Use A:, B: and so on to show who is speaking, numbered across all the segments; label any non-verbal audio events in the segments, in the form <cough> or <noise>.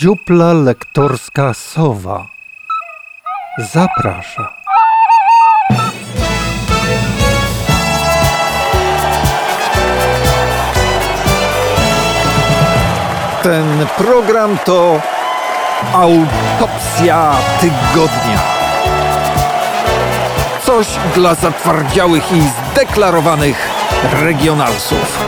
A: dziupla lektorska sowa. Zaprasza.
B: Ten program to autopsja tygodnia. Coś dla zatwardziałych i zdeklarowanych regionalsów.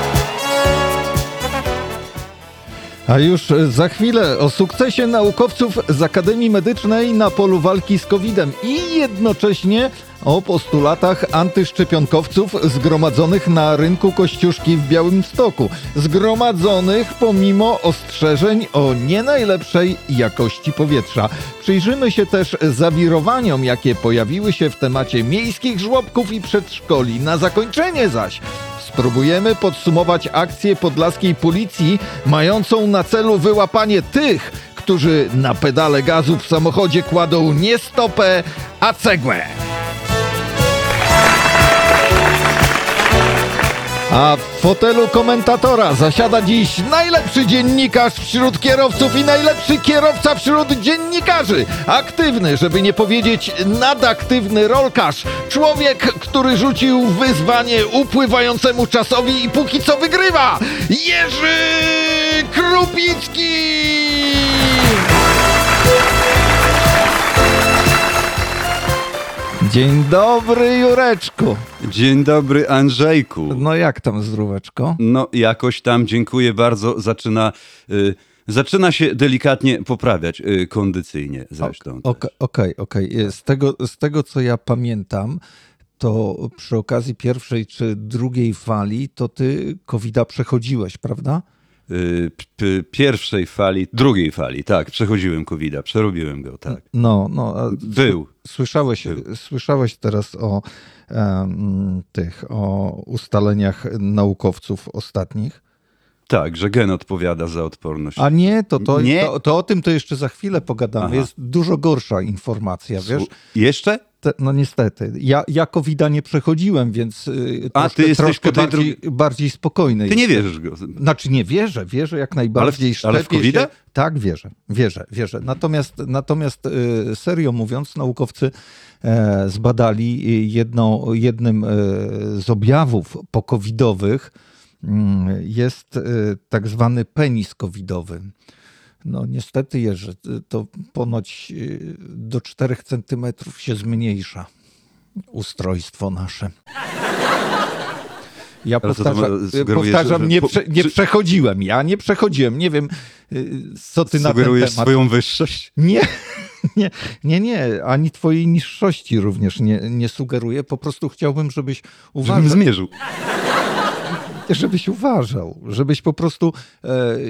C: A już e, za chwilę o sukcesie naukowców z Akademii Medycznej na polu walki z COVID-em i jednocześnie o postulatach antyszczepionkowców zgromadzonych na rynku Kościuszki w Białymstoku. Zgromadzonych pomimo ostrzeżeń o nie najlepszej jakości powietrza. Przyjrzymy się też zawirowaniom, jakie pojawiły się w temacie miejskich żłobków i przedszkoli. Na zakończenie zaś Spróbujemy podsumować akcję podlaskiej policji mającą na celu wyłapanie tych, którzy na pedale gazu w samochodzie kładą nie stopę, a cegłę. A w fotelu komentatora zasiada dziś najlepszy dziennikarz wśród kierowców i najlepszy kierowca wśród dziennikarzy. Aktywny, żeby nie powiedzieć nadaktywny rolkarz. Człowiek, który rzucił wyzwanie upływającemu czasowi i póki co wygrywa. Jerzy Krupicki! Dzień dobry, Jureczku.
D: Dzień dobry, Andrzejku.
C: No jak tam zdróweczko?
D: No, jakoś tam dziękuję bardzo. Zaczyna, y, zaczyna się delikatnie poprawiać y, kondycyjnie zresztą.
C: Ok- Okej, okej.
D: Tak.
C: Z, tego, z tego, co ja pamiętam, to przy okazji pierwszej czy drugiej fali, to ty COVID-a przechodziłeś, prawda?
D: Y, p- p- pierwszej fali, drugiej fali, tak, przechodziłem COVID-a, przerobiłem go, tak.
C: No, no. a
D: Był.
C: Słyszałeś, słyszałeś teraz o em, tych, o ustaleniach naukowców ostatnich?
D: Tak, że gen odpowiada za odporność.
C: A nie, to, to,
D: Nie.
C: to, to o tym to jeszcze za chwilę pogadamy.
D: Aha.
C: Jest dużo gorsza informacja, wiesz?
D: Słu- Jeszcze?
C: Te, no niestety. Ja, ja COVID-a nie przechodziłem, więc yy,
D: A,
C: troszkę,
D: ty jesteś
C: troszkę
D: po tej
C: bardziej, bardziej spokojny.
D: Ty nie wierzysz go.
C: Znaczy nie wierzę, wierzę jak najbardziej.
D: Ale w- ale w
C: szczepię
D: COVID-a?
C: się. Tak, wierzę, wierzę, wierzę. Natomiast, natomiast y, serio mówiąc, naukowcy e, zbadali y, jedną, jednym e, z objawów pokowidowych mm, jest e, tak zwany penis covidowy. No niestety, Jerzy, to ponoć y, do 4 centymetrów się zmniejsza ustrojstwo nasze. Ja
D: Ale co to
C: powtarzam,
D: ma- sugerujesz,
C: powtarzam
D: że
C: nie,
D: po-
C: prze, nie
D: czy-
C: przechodziłem, ja nie przechodziłem, nie wiem, y, co ty na ten
D: Sugerujesz
C: temat.
D: swoją wyższość?
C: Nie, <laughs> nie, nie, nie, ani twojej niższości również nie, nie sugeruję, po prostu chciałbym, żebyś
D: Żebym
C: uważał,
D: zmierzył.
C: <laughs> żebyś uważał, żebyś po prostu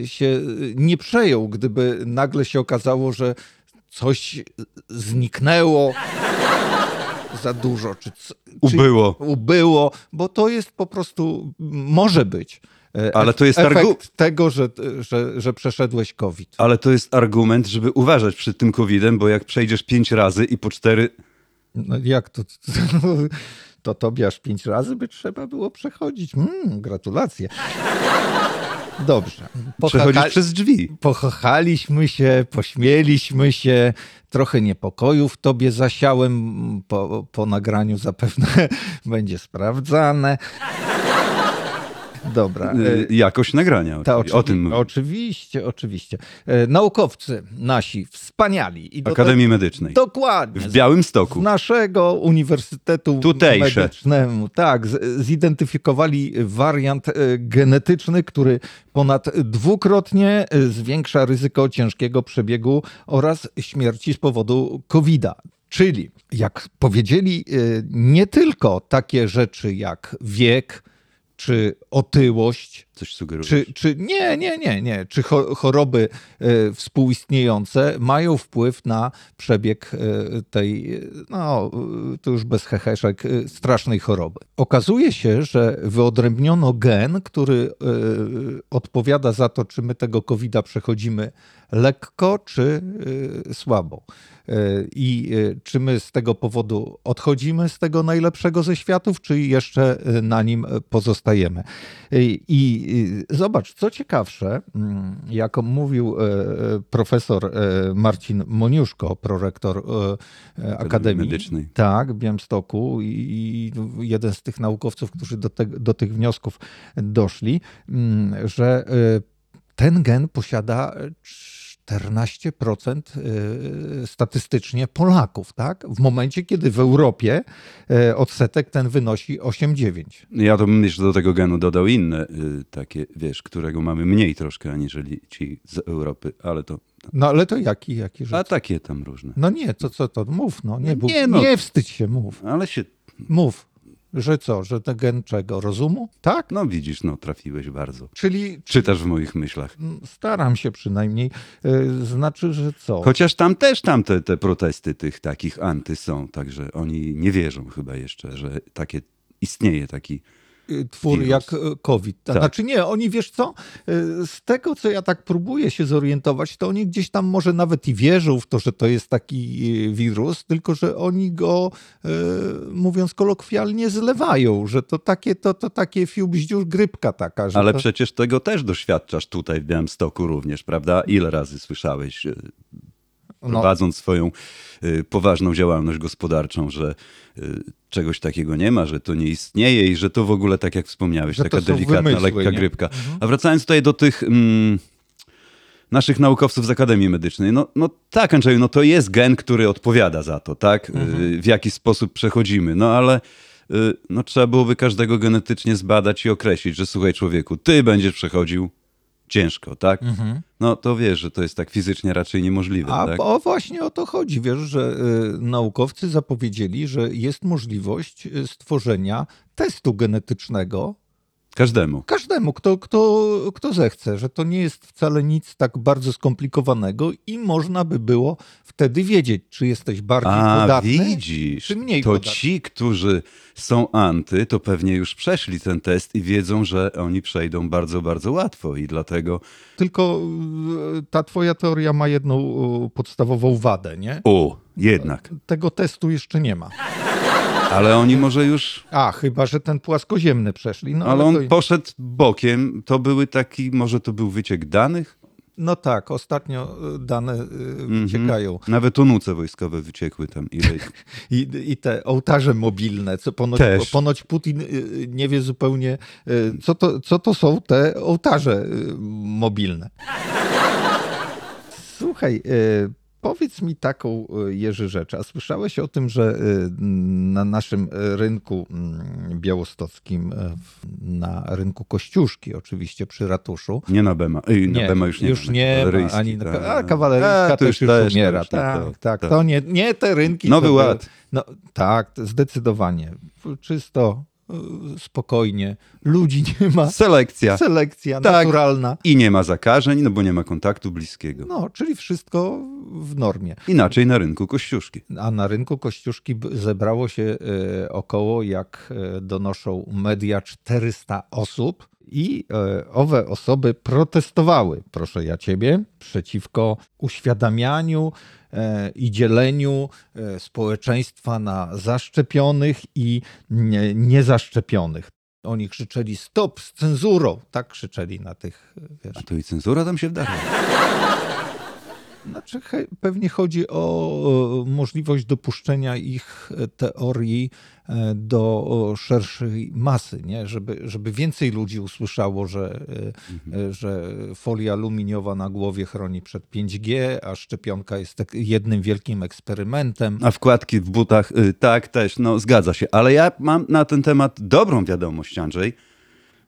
C: e, się nie przejął, gdyby nagle się okazało, że coś zniknęło <laughs> za dużo, czy, c- czy
D: Ubyło.
C: ubyło, bo to jest po prostu, może być. e,
D: Ale to jest
C: efekt
D: argu-
C: tego, że, że, że przeszedłeś COVID.
D: Ale to jest argument, żeby uważać przed tym COVID-em, bo jak przejdziesz pięć razy i po cztery...
C: No jak to? <laughs> To tobie aż pięć razy by trzeba było przechodzić. Mm, gratulacje. Dobrze.
D: Przechodzisz
C: Pochaka-
D: przez drzwi.
C: Pochochaliśmy się, pośmieliśmy się, trochę niepokoju w tobie zasiałem. Po, po nagraniu zapewne <laughs> będzie sprawdzane. Dobra. e,
D: Y, Jakość nagrania.
C: Ta, no
D: oczywiście. o tym mówię.
C: Oczywiście, oczywiście. E, Naukowcy nasi, wspaniali. I do
D: Akademii Medycznej.
C: Te, dokładnie.
D: W
C: z-
D: Białym
C: Z
D: Stoku.
C: naszego uniwersytetu
D: Tutejsze.
C: medycznemu. Tak, z, zidentyfikowali wariant e, genetyczny, który ponad dwukrotnie e, zwiększa ryzyko ciężkiego przebiegu oraz śmierci z powodu COVID-a. Czyli, jak powiedzieli, e, nie tylko takie rzeczy jak wiek czy otyłość,
D: Coś sugerujesz.
C: czy, czy nie, nie, nie, nie. Czy cho- choroby e, współistniejące mają wpływ na przebieg e, tej, e, no e, to już bez heheszek, e, strasznej choroby? Okazuje się, że wyodrębniono gen, który e, odpowiada za to, czy my tego COVID-a przechodzimy lekko czy e, słabo. E, I e, czy my z tego powodu odchodzimy y, z tego najlepszego ze światów, czy jeszcze e, na nim e, pozostajemy. I- I I y, zobacz, co ciekawsze, mm, jak mówił e, e, profesor e, Marcin Moniuszko, prorektor e, e, Akademii
D: Medycznej.
C: Tak, w Białymstoku i, i jeden z tych naukowców, którzy do, te, do tych wniosków doszli, mm, że e, ten gen posiada 14% e, statystycznie Polaków, tak? W momencie, kiedy w Europie e, odsetek ten wynosi 8-9.
D: No Ja to bym jeszcze do tego genu dodał inne, y, takie, wiesz, którego mamy mniej troszkę aniżeli ci z Europy, ale to.
C: No ale to jaki, jaki rzecz?
D: A takie tam różne.
C: No nie, to co to? Mów, no nie,
D: No
C: bóg,
D: nie,
C: nie,
D: no.
C: wstydź się, mów.
D: Ale się.
C: Mów, że co, że ten gen czego? Rozumu? Tak?
D: No widzisz, no trafiłeś bardzo.
C: Czyli
D: Czytasz w moich myślach.
C: mm, staram się przynajmniej, y, znaczy, że co?
D: Chociaż tam też tam te, te protesty tych takich anty są, także oni nie wierzą chyba jeszcze, że takie istnieje taki.
C: Y, Twór
D: wirus.
C: jak y, COVID. Ta-
D: Tak.
C: Znaczy nie, oni wiesz co, y, z tego co ja tak próbuję się zorientować, to oni gdzieś tam może nawet i wierzą w to, że to jest taki y, wirus, tylko że oni go, y, mówiąc kolokwialnie, zlewają, że to takie, to, to takie fiubździur, grypka taka. Że
D: Ale
C: to...
D: przecież tego też doświadczasz tutaj w Białymstoku również, prawda? Ile razy słyszałeś, y,
C: No.
D: prowadząc swoją y, poważną działalność gospodarczą, że y, czegoś takiego nie ma, że to nie istnieje i że to w ogóle, tak jak wspomniałeś,
C: Że
D: taka
C: to są
D: delikatna,
C: wymysły,
D: lekka
C: nie? Mhm.
D: grypka. A wracając tutaj do tych... Mm, naszych naukowców z Akademii Medycznej. No, no tak, Andrzeju, no to jest gen, który odpowiada za to, tak? Y,
C: Mhm.
D: W jaki sposób przechodzimy. No ale y, no, trzeba byłoby każdego genetycznie zbadać i określić, że słuchaj człowieku, ty będziesz przechodził ciężko, tak? No to wiesz, że to jest tak fizycznie raczej niemożliwe,
C: Mhm. A
D: tak?
C: bo właśnie o to chodzi, wiesz, że y, naukowcy zapowiedzieli, że jest możliwość y, stworzenia testu genetycznego
D: Każdemu.
C: każdemu, kto, kto, kto zechce, że to nie jest wcale nic tak bardzo skomplikowanego i można by było wtedy wiedzieć, czy jesteś bardziej
D: A,
C: podatny.
D: widzisz,
C: czy mniej
D: to
C: podatny?
D: ci, którzy są anty, to pewnie już przeszli ten test i wiedzą, że oni przejdą bardzo, bardzo łatwo i dlatego...
C: Tylko y, ta twoja teoria ma jedną y, podstawową wadę, nie?
D: O, jednak.
C: Tego testu jeszcze nie ma.
D: Ale oni może już...
C: A, chyba, że ten płaskoziemny przeszli. No,
D: Ale on
C: to...
D: poszedł bokiem, to były taki, może to był wyciek danych?
C: no tak, ostatnio y, dane y,
D: Mhm.
C: wyciekają.
D: Nawet onuce wojskowe wyciekły tam ile. ich-
C: I, I te ołtarze mobilne, co ponoć,
D: Też.
C: ponoć Putin y, y, nie wie zupełnie, y, co to, co to są te ołtarze y, mobilne. Słuchaj, y, powiedz mi taką, y, Jerzy, rzecz. A słyszałeś o tym, że y, na naszym y, rynku mm, białostockim, y, w- na rynku Kościuszki oczywiście przy ratuszu,
D: Nie na Bema. Ej, na Bema już nie
C: już
D: ma.
C: nie ma,
D: Kawaleryjski,
C: ani
D: tak.
C: a kawaleryjska
D: A, to
C: też już
D: też,
C: umiera.
D: to już nie
C: tak,
D: to.
C: tak, to nie, nie te rynki.
D: Nowy
C: to były-
D: Ład.
C: No, tak, to zdecydowanie. Czysto, y, spokojnie. Ludzi nie ma.
D: Selekcja.
C: Selekcja
D: Tak.
C: naturalna.
D: I nie ma zakażeń, no bo nie ma kontaktu bliskiego.
C: No, czyli wszystko w normie.
D: Inaczej na rynku kościuszki.
C: A na rynku Kościuszki b- zebrało się e, około, jak e, donoszą media, 400 osób. I e, owe osoby protestowały, proszę ja ciebie, przeciwko uświadamianiu e, i dzieleniu e, społeczeństwa na zaszczepionych i nie- niezaszczepionych. Oni krzyczeli stop z cenzurą, tak krzyczeli na tych, e, wiesz,
D: A to i cenzura tam się wdarła.
C: znaczy, he- pewnie chodzi o e, możliwość dopuszczenia ich e, teorii e, do o, szerszej masy, nie? Żeby, żeby więcej ludzi usłyszało, że, e,
D: Mhm.
C: e, że folia aluminiowa na głowie chroni przed 5G, a szczepionka jest tak jednym wielkim
D: <clears throat>
C: eksperymentem.
D: A wkładki w butach, y, tak też, no zgadza się. Ale ja mam na ten temat dobrą wiadomość, Andrzej,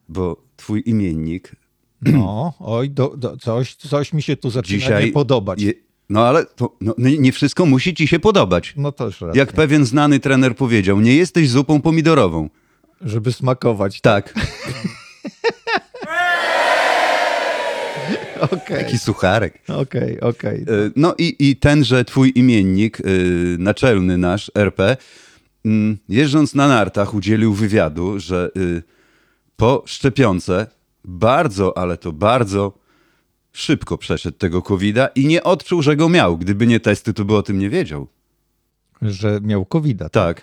D: bo twój imiennik
C: No, oj, do, do, coś, coś mi się tu zaczyna nie podobać.
D: je- no ale to, no, nie nie wszystko musi ci się podobać.
C: No też racja.
D: Jak pewien znany trener powiedział, nie jesteś zupą pomidorową.
C: Żeby smakować.
D: Tak,
C: Okej,
D: <laughs> taki sucharek.
C: okej, okej.
D: Y, No i, i tenże twój imiennik, y, naczelny nasz, RP, mm, jeżdżąc na nartach udzielił wywiadu, że y, po szczepionce bardzo, ale to bardzo szybko przeszedł tego covida i nie odczuł, że go miał. Gdyby nie testy, to by o tym nie wiedział.
C: Że miał covid
D: Tak.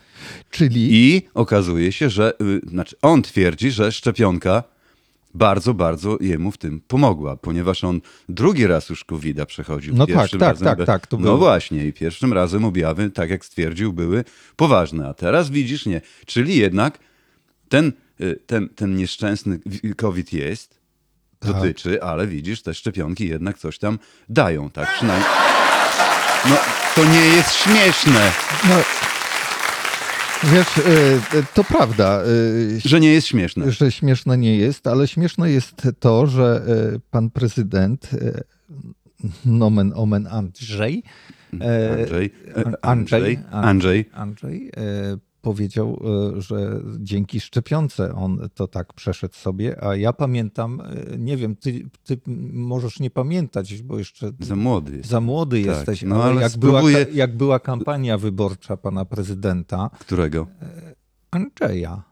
C: Czyli...
D: I okazuje się, że y, znaczy on twierdzi, że szczepionka bardzo, bardzo jemu w tym pomogła, ponieważ on drugi raz już COVID-a przechodził.
C: No tak,
D: Pierwszym
C: tak,
D: razem
C: tak,
D: be-
C: tak, to
D: No
C: było.
D: właśnie, i pierwszym razem objawy, tak jak stwierdził, były poważne, a teraz widzisz nie. Czyli jednak ten, y, ten, ten nieszczęsny wi- COVID jest,
C: Tak.
D: dotyczy, ale widzisz, te szczepionki jednak coś tam dają, tak przynajmniej. No, to nie jest śmieszne,
C: No, wiesz, y, y, to prawda, y,
D: że nie jest śmieszne.
C: że śmieszne nie jest, ale śmieszne jest to, że y, pan prezydent, y, nomen omen Andrzej, e,
D: Mm. Andrzej,
C: An-
D: e, Andrzej, Andrzej,
C: Andrzej e, powiedział, e, że dzięki szczepionce on to tak przeszedł sobie, a ja pamiętam, e, nie wiem, ty, ty możesz nie pamiętać, bo jeszcze
D: za młody jest,
C: za młody
D: Tak,
C: jesteś,
D: no
C: ale,
D: ale
C: jak, była,
D: spróbuję-
C: ka- jak była kampania wyborcza pana prezydenta
D: którego?
C: Andrzeja.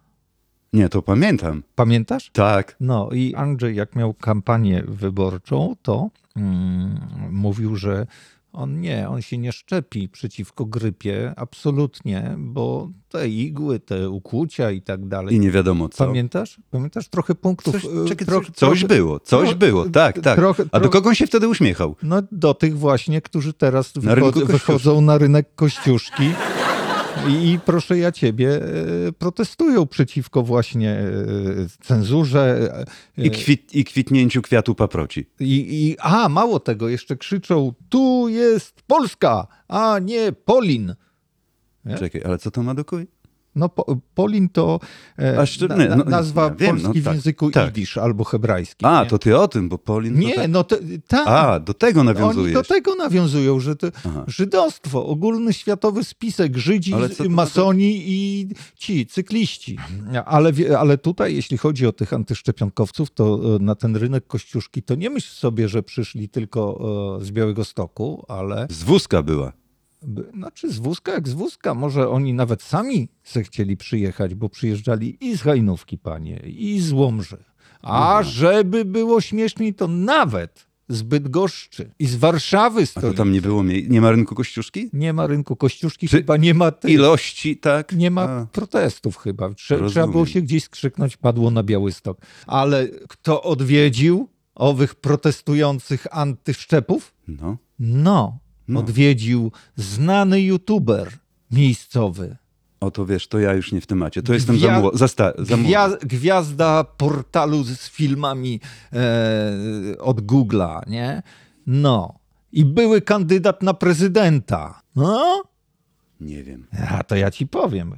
D: Nie, to pamiętam.
C: Pamiętasz?
D: Tak.
C: No i Andrzej, jak miał kampanię wyborczą, to mm, mówił, że on nie, on się nie szczepi przeciwko grypie, absolutnie, bo te igły, te ukłucia i tak dalej.
D: I nie wiadomo co.
C: Pamiętasz? Pamiętasz trochę punktów?
D: Coś,
C: e,
D: czekaj,
C: troch-
D: coś, coś
C: trochę-
D: było, coś
C: tro-
D: było, tak, tak.
C: trochę-
D: A do
C: trochę-
D: kogo on się wtedy uśmiechał?
C: No do tych właśnie, którzy teraz
D: Na
C: wychod-
D: rynku Kościuszki.
C: wychodzą na rynek Kościuszki i, i proszę ja ciebie, e, protestują przeciwko właśnie e, cenzurze. e,
D: I, kwit, I kwitnięciu kwiatu paproci.
C: I, i a, mało tego, jeszcze krzyczą, tu jest Polska, a nie Polin. Nie?
D: Czekaj, ale co to ma do kuj?
C: No, po, Polin to e,
D: A szczy-
C: na,
D: nie,
C: na,
D: no,
C: nazwa
D: ja wiem, no
C: Polski w
D: tak,
C: języku
D: tak.
C: jidysz albo hebrajskim.
D: A,
C: nie?
D: to ty o tym, bo Polin...
C: Nie,
D: tak.
C: no to, tak.
D: A, do tego
C: Oni
D: nawiązujesz.
C: do tego nawiązują, że to
D: Aha.
C: żydostwo, ogólny światowy spisek, Żydzi,
D: Ale co to-
C: masoni i ci, cykliści. Ale, wie- ale tutaj, jeśli chodzi o tych antyszczepionkowców, to e, na ten rynek Kościuszki, to nie myśl sobie, że przyszli tylko e, z Białego Stoku, ale
D: Z wózka była.
C: by- znaczy z wózka jak z wózka, może oni nawet sami zechcieli przyjechać, bo przyjeżdżali i z Hajnówki, panie, i z Łomży. A
D: Mhm.
C: żeby było śmieszniej, to nawet z Bydgoszczy i z Warszawy
D: A
C: stoi.
D: to tam nie było mie- Nie ma rynku Kościuszki?
C: Nie ma rynku Kościuszki,
D: Czy-
C: chyba nie ma tych,
D: Ilości, tak?
C: nie ma
D: A.
C: protestów chyba. Trze, trzeba
D: Rozumiem.
C: było się gdzieś skrzyknąć, padło na Białystok. Ale kto odwiedził owych protestujących antyszczepów?
D: No.
C: No,
D: No.
C: odwiedził znany youtuber miejscowy.
D: Oto wiesz, to ja już nie w temacie. To jestem za,
C: Gwia-
D: mło- za, sta- za młody.
C: Gwia gwiazda portalu z filmami e, od Google'a, nie? No. I były kandydat na prezydenta. No?
D: Nie wiem.
C: A to ja ci powiem.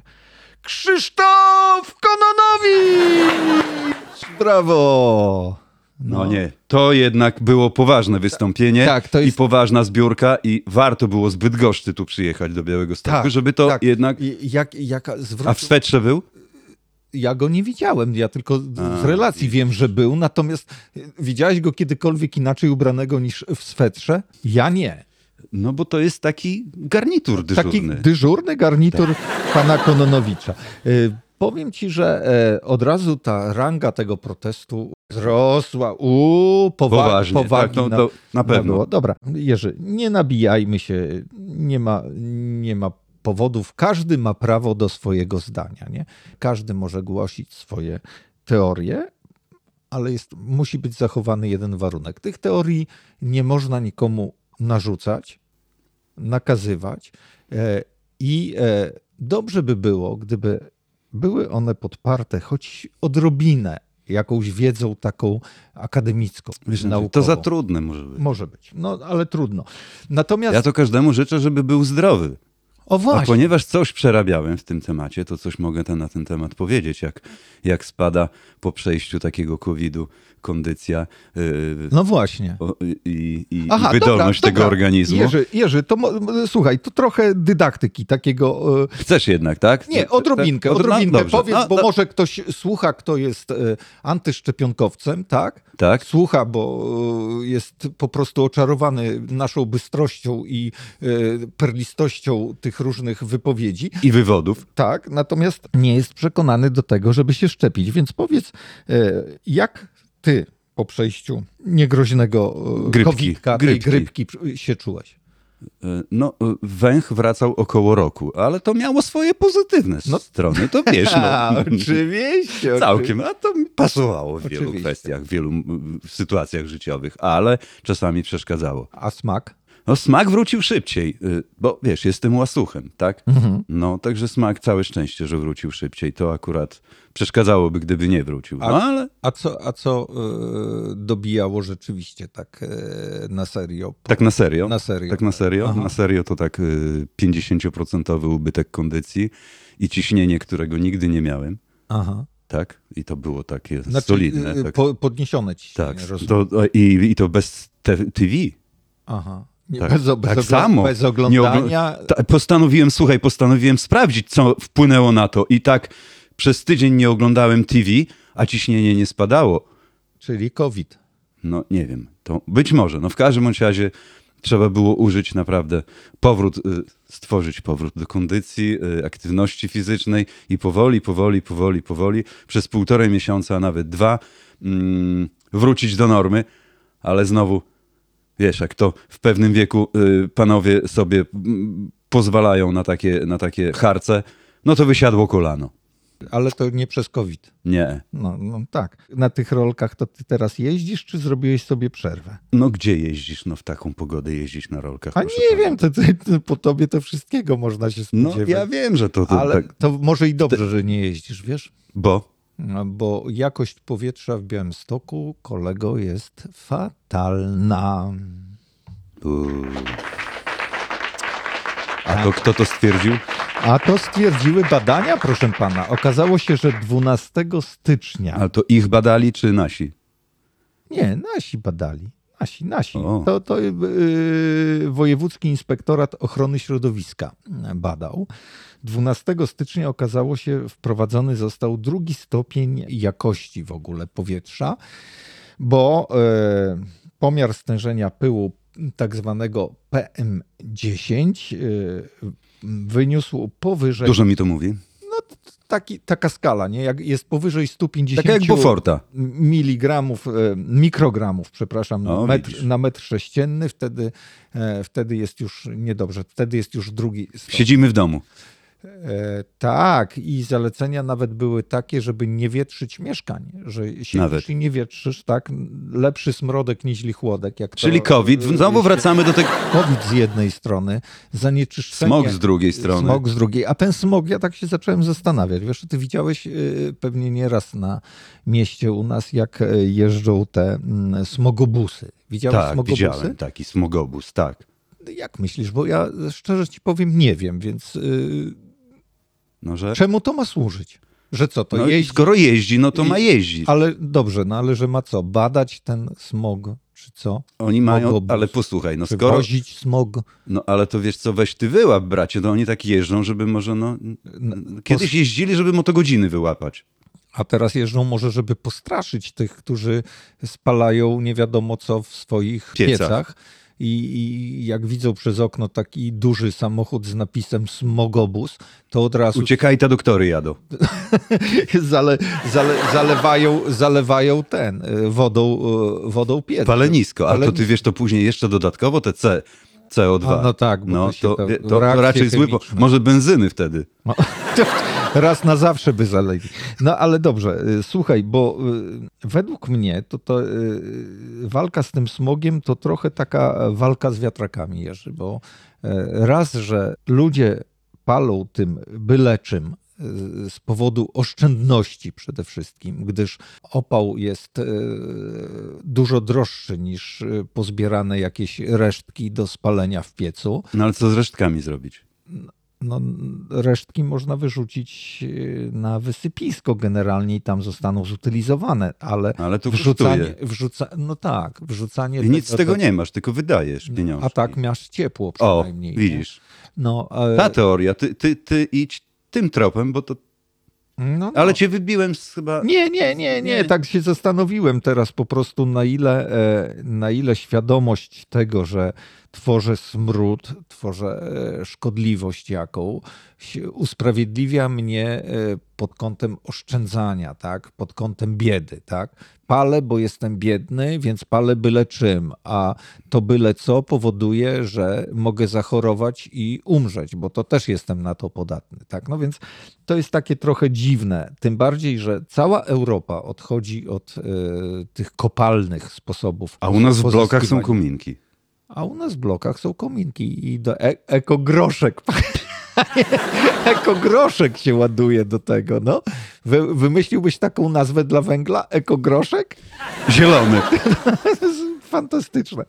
C: Krzysztof Kononowicz! Brawo!
D: No. nie. To jednak było poważne wystąpienie
C: Tak, to jest-
D: i poważna zbiórka i warto było z Bydgoszczy tu przyjechać do Białego Stoku, żeby to
C: tak.
D: jednak...
C: I- Jak, jaka
D: A w
C: zwróć...
D: swetrze był?
C: Ja go nie widziałem, ja tylko z- z
D: A,
C: relacji wiem, że był, natomiast y, widziałeś go kiedykolwiek inaczej ubranego niż w swetrze? Ja nie.
D: No bo to jest taki garnitur
C: Taki
D: dyżurny. Tak.
C: dyżurny garnitur pana Kononowicza. Y, Powiem ci, że e, od razu ta ranga tego protestu wzrosła. Uuu, powa-
D: Poważnie.
C: powagi
D: tak, no,
C: na,
D: to, na pewno.
C: Nabyło. Dobra, Jerzy, nie nabijajmy się, nie ma, nie ma powodów. Każdy ma prawo do swojego zdania, nie? Każdy może głosić swoje teorie, ale jest, musi być zachowany jeden warunek. Tych teorii nie można nikomu narzucać, nakazywać e, i e, dobrze by było, gdyby były one podparte choć odrobinę jakąś wiedzą taką akademicką,
D: Wiesz, znaczy,
C: naukową.
D: to za trudne może być.
C: Może być, no ale trudno. Natomiast,
D: Ja to każdemu życzę, żeby był zdrowy.
C: o No
D: A
C: właśnie,
D: ponieważ coś przerabiałem w tym temacie, to coś mogę te- na ten temat powiedzieć, jak, jak spada po przejściu takiego COVID-u kondycja yy,
C: no właśnie.
D: o- i, i,
C: Aha,
D: i wydolność
C: dobra,
D: tego
C: dobra.
D: organizmu.
C: Jerzy, Jerzy to mo- m- słuchaj, to trochę dydaktyki takiego... e,
D: Chcesz jednak, tak?
C: Nie, odrobinkę,
D: Odro- no,
C: odrobinkę.
D: dobrze.
C: Powiedz,
D: No,
C: bo
D: no,
C: może ktoś słucha, kto jest e, antyszczepionkowcem, tak?
D: Tak.
C: Słucha, bo e, jest po prostu oczarowany naszą bystrością i e, perlistością tych różnych wypowiedzi.
D: I wywodów.
C: Tak, natomiast nie jest przekonany do tego, żeby się szczepić. Więc powiedz, e, jak ty po przejściu niegroźnego
D: Grypki,
C: grypki, COVID-ka, tej
D: grypki.
C: grypki przy- się czułeś?
D: E, No, e, węch wracał około roku, ale to miało swoje pozytywne
C: No.
D: s- strony, to wiesz.
C: <laughs> A,
D: <laughs> No.
C: oczywiście.
D: <laughs> Całkiem, a to mi pasowało w wielu
C: Oczywiście.
D: kwestiach, w wielu mm, sytuacjach życiowych, ale czasami przeszkadzało.
C: A smak?
D: No smak wrócił szybciej, y, bo wiesz, jestem łasuchem, tak?
C: Mhm.
D: No, także smak, całe szczęście, że wrócił szybciej. To akurat przeszkadzałoby, gdyby nie wrócił. No, ale
C: A co, a co e, dobijało rzeczywiście tak e, na serio?
D: tak na serio.
C: Na serio.
D: Tak na serio. Na serio to tak y, 50% ubytek kondycji i ciśnienie, którego nigdy nie miałem,
C: Aha. tak?
D: tak? I to było takie
C: Znaczy,
D: solidne.
C: e,
D: tak,
C: Po, podniesione ciśnienie,
D: tak.
C: rozumiem.
D: To, i, I to bez te, TV.
C: Aha. Nie,
D: Tak,
C: bez, o- bez,
D: tak
C: ogl-
D: samo.
C: bez
D: Nie
C: oglądania.
D: ogl- ta, postanowiłem, słuchaj, postanowiłem sprawdzić, co wpłynęło na to. I tak przez tydzień nie oglądałem TV, a ciśnienie nie spadało.
C: Czyli COVID.
D: No nie wiem, to być może. No w każdym bądź razie trzeba było użyć naprawdę powrót, y, stworzyć powrót do kondycji, y, aktywności fizycznej i powoli, powoli, powoli, powoli przez półtorej miesiąca, a nawet dwa mm, wrócić do normy, ale znowu wiesz, jak to w pewnym wieku y, panowie sobie mm, pozwalają na takie, na takie harce, no to wysiadło kolano.
C: Ale to nie przez COVID.
D: Nie.
C: No, no tak. Na tych rolkach to ty teraz jeździsz, czy zrobiłeś sobie przerwę?
D: No gdzie jeździsz? No w taką pogodę jeździć na rolkach.
C: A
D: proszę
C: nie
D: pana?
C: wiem, to, ty- ty- po tobie to wszystkiego można się
D: No,
C: spodziewać.
D: ja wiem, że to, to
C: Ale
D: tak,
C: to może i dobrze, że nie jeździsz, wiesz?
D: bo
C: No, Bo jakość powietrza w Białymstoku, kolego, jest fatalna.
D: Uuu. A to kto to stwierdził?
C: A to stwierdziły badania, proszę pana. Okazało się, że 12 stycznia.
D: Ale to ich badali czy nasi?
C: Nie, nasi badali. Nasi, nasi.
D: O.
C: To, to yy, Wojewódzki Inspektorat Ochrony Środowiska badał. 12 stycznia okazało się, wprowadzony został drugi stopień jakości w ogóle powietrza, bo e, pomiar stężenia pyłu tak zwanego PM10 e, wyniósł powyżej
D: Dużo mi to mówi.
C: taki, taka skala, nie? Jak jest powyżej 150
D: Tak jak Boforta.
C: miligramów, e, mikrogramów, przepraszam,
D: O,
C: na metr,
D: No, widzisz.
C: na metr sześcienny, wtedy, e, wtedy jest już niedobrze, wtedy jest już drugi stop.
D: Siedzimy w domu.
C: E, tak, i zalecenia nawet były takie, żeby nie wietrzyć mieszkań, że siedzisz
D: Nawet.
C: i nie wietrzysz, tak? Lepszy smrodek niźli chłodek. Jak
D: Czyli
C: to,
D: COVID.
C: e,
D: Znowu wracamy do tego.
C: COVID z jednej strony, zanieczyszczenie.
D: Smog z drugiej strony.
C: Smog z drugiej. A ten smog, ja tak się zacząłem zastanawiać. Wiesz, ty widziałeś y, pewnie nieraz na mieście u nas, jak y, jeżdżą te mm, smogobusy. Widziałeś
D: Tak,
C: smogobusy?
D: widziałem taki smogobus, tak.
C: Jak myślisz? Bo ja e, szczerze ci powiem, nie wiem, więc y,
D: No, że...
C: czemu to ma służyć? Że co, to
D: no, i
C: jeździ?
D: skoro jeździ, no to ma jeździć.
C: Ale dobrze, no ale że ma co? Badać ten smog, czy co?
D: Oni mają,
C: smogobus.
D: ale posłuchaj, no
C: Czy
D: skoro,
C: wozić smog?
D: no ale to wiesz co, weź ty wyłap bracie, no oni tak jeżdżą, żeby może no, kiedyś jeździli, żeby motogodziny wyłapać.
C: A teraz jeżdżą może, żeby postraszyć tych, którzy spalają nie wiadomo co w swoich piecach.
D: Piecach.
C: I, I jak widzą przez okno taki duży samochód z napisem smogobus, to od razu
D: Uciekaj, ta doktory jadą.
C: <laughs> zale, zale, zalewają, zalewają ten y, wodą, y, wodą piec.
D: Palenisko, ale to
C: Palenisko.
D: ty wiesz, to później jeszcze dodatkowo te C, CO2.
C: A, no tak, bo
D: no,
C: to się
D: to,
C: tam-
D: wie- to, to
C: reakcje
D: raczej zły, po-
C: chemiczne.
D: może benzyny wtedy.
C: No, to raz na zawsze by zaleli. No ale dobrze, y, słuchaj, bo y, według mnie to, to y, walka z tym smogiem to trochę taka walka z wiatrakami, Jerzy, bo y, raz, że ludzie palą tym byle czym y, z powodu oszczędności przede wszystkim, gdyż opał jest y, dużo droższy niż y, pozbierane jakieś resztki do spalenia w piecu.
D: No ale co z resztkami zrobić?
C: No, n- resztki można wyrzucić yy, na wysypisko generalnie i tam zostaną zutylizowane, ale
D: No, Ale to
C: wrzucanie,
D: kosztuje.
C: wrzuca, no tak, wrzucanie...
D: I nic z
C: tego-
D: tego nie masz, tylko wydajesz pieniądze.
C: A tak masz ciepło
D: O,
C: przynajmniej. nie?
D: widzisz.
C: No, e,
D: Ta teoria, ty, ty, ty idź tym tropem, bo to...
C: no, no.
D: Ale cię wybiłem z chyba...
C: Nie, nie, nie, nie,
D: Nie.
C: tak się zastanowiłem teraz po prostu na ile, e, na ile świadomość tego, że tworzę smród, tworzę e, szkodliwość jakąś, usprawiedliwia mnie e, pod kątem oszczędzania, tak? pod kątem biedy. Tak? Palę, bo jestem biedny, więc palę byle czym, a to byle co powoduje, że mogę zachorować i umrzeć, bo to też jestem na to podatny. Tak? No więc to jest takie trochę dziwne, tym bardziej, że cała Europa odchodzi od e, tych kopalnych sposobów.
D: A u nas w blokach są
C: pozyskiwania.
D: kominki.
C: A u nas w blokach są kominki i do e ekogroszek. <laughs> ekogroszek się ładuje do tego, no. Wy wymyśliłbyś taką nazwę dla węgla? Ekogroszek?
D: Zielony.
C: To jest fantastyczne.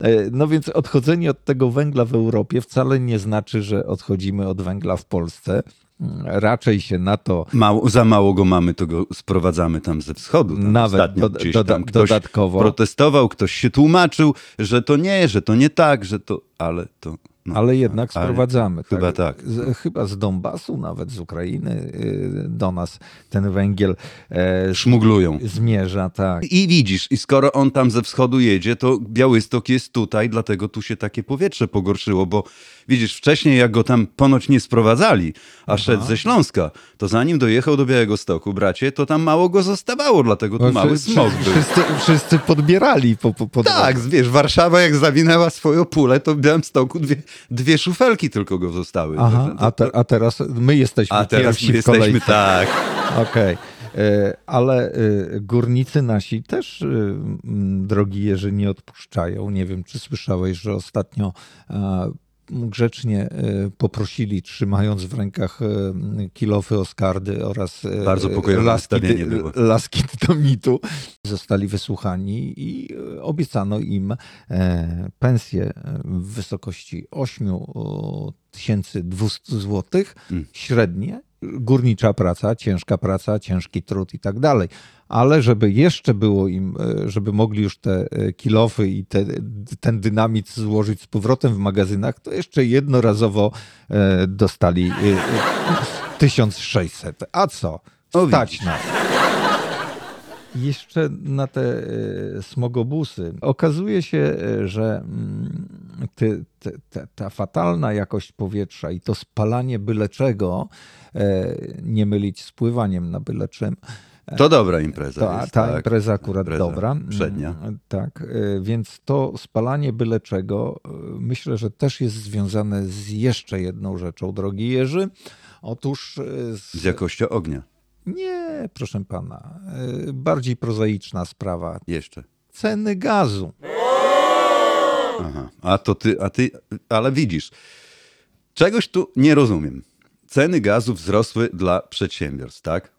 C: E, No więc odchodzenie od tego węgla w Europie wcale nie znaczy, że odchodzimy od węgla w Polsce. Mm, Raczej się na to
D: Mało, za mało go mamy, to go sprowadzamy tam ze wschodu. Tam
C: Nawet
D: ostatnio
C: doda-
D: gdzieś
C: doda-
D: tam ktoś
C: dodatkowo.
D: protestował, ktoś się tłumaczył, że to nie, że to nie tak, że to... Ale to... No,
C: Ale jednak sprowadzamy.
D: chyba tak.
C: Z, chyba z Donbasu, nawet z Ukrainy y, do nas ten węgiel e,
D: Szmuglują.
C: zmierza, tak.
D: I widzisz, i skoro on tam ze wschodu jedzie, to Białystok jest tutaj, dlatego tu się takie powietrze pogorszyło, bo widzisz, wcześniej jak go tam ponoć nie sprowadzali, a szedł ze Śląska, to zanim dojechał do Białegostoku, bracie, to tam mało go zostawało, dlatego tu mały
C: Wszyscy- <laughs>
D: smog był.
C: wszyscy, wszyscy podbierali po, po, po
D: Tak, wiesz, Warszawa jak zawinęła swoją pulę, to w Białymstoku dwie, dwie szufelki tylko go zostały.
C: Aha, a, te, a teraz my jesteśmy
D: a teraz
C: pierwsi
D: my
C: w kolejce.
D: jesteśmy tak.
C: Okej. E, Ale e, górnicy nasi też, e, m, drogi Jerzy, nie odpuszczają. Nie wiem, czy słyszałeś, że ostatnio e, grzecznie e, poprosili, trzymając w rękach e, m, kilowy oskardy oraz e,
D: Bardzo pokojowe
C: laski,
D: nastawienie
C: dy-
D: było.
C: laski <laughs> dynamitu, zostali wysłuchani i e, obiecano im e, pensję w wysokości 8200 złotych średnie, górnicza praca, ciężka praca, ciężki trud i tak dalej. Ale żeby jeszcze było im, e, żeby mogli już te e, kilofy i te, ten dynamit złożyć z powrotem w magazynach, to jeszcze jednorazowo e, dostali e, e, 1600. A co?
D: O,
C: Stać
D: widzisz.
C: nas. Jeszcze na te e, smogobusy. Okazuje się, e, że mm, ty, ty, ta, ta fatalna jakość powietrza i to spalanie byle czego, e, nie mylić z pływaniem na byle czym,
D: To dobra impreza
C: ta,
D: jest.
C: ta
D: tak.
C: impreza akurat
D: Impreza
C: dobra. Mm,
D: Przednia.
C: Tak, y, więc to spalanie byle czego y, myślę, że też jest związane z jeszcze jedną rzeczą, drogi Jerzy. Otóż y,
D: Z jakością ognia.
C: nie, proszę pana, y, bardziej prozaiczna sprawa.
D: Jeszcze.
C: Ceny gazu.
D: Aha. A to ty, a ty, ale widzisz, czegoś tu nie rozumiem. Ceny gazu wzrosły dla przedsiębiorstw, tak?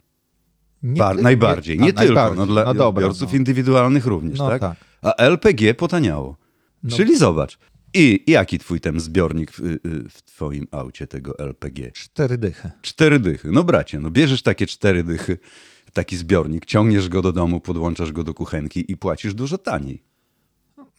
C: Nie
D: Bar-
C: ty-
D: najbardziej,
C: a,
D: nie, tylko,
C: najbardziej.
D: No, dla
C: dobra,
D: odbiorców
C: no.
D: indywidualnych również,
C: No
D: tak?
C: tak. No.
D: A LPG potaniało. Czyli zobacz, i jaki twój ten zbiornik w, y, y, w twoim aucie tego LPG?
C: Cztery dychy.
D: Cztery dychy. No bracie, no bierzesz takie cztery dychy, taki zbiornik, ciągniesz go do domu, podłączasz go do kuchenki i płacisz dużo taniej.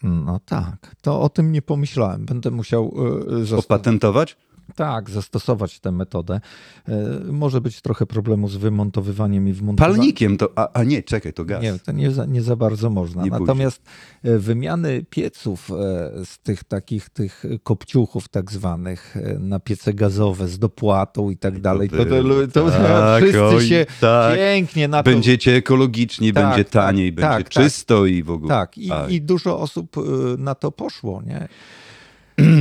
C: No tak, to o tym nie pomyślałem. Będę musiał y, y, zas-
D: Opatentować?
C: Tak, zastosować tę metodę. E, Może być trochę problemu z wymontowywaniem i wmontowaniem.
D: Palnikiem to, a, a nie, czekaj, to gaz.
C: Nie, to nie za, nie za bardzo można.
D: Nie pójdzie.
C: Natomiast e, wymiany pieców e, z tych takich tych kopciuchów tak zwanych e, na piece gazowe z dopłatą i tak dalej, to, to,
D: było.
C: to
D: Tak,
C: wszyscy
D: oj,
C: się
D: tak.
C: pięknie na to...
D: Będziecie ekologiczni,
C: Tak,
D: będzie
C: tak,
D: taniej,
C: tak,
D: będzie
C: tak.
D: czysto i w ogóle.
C: Tak, i,
D: Tak.
C: i dużo osób e, na to poszło, nie?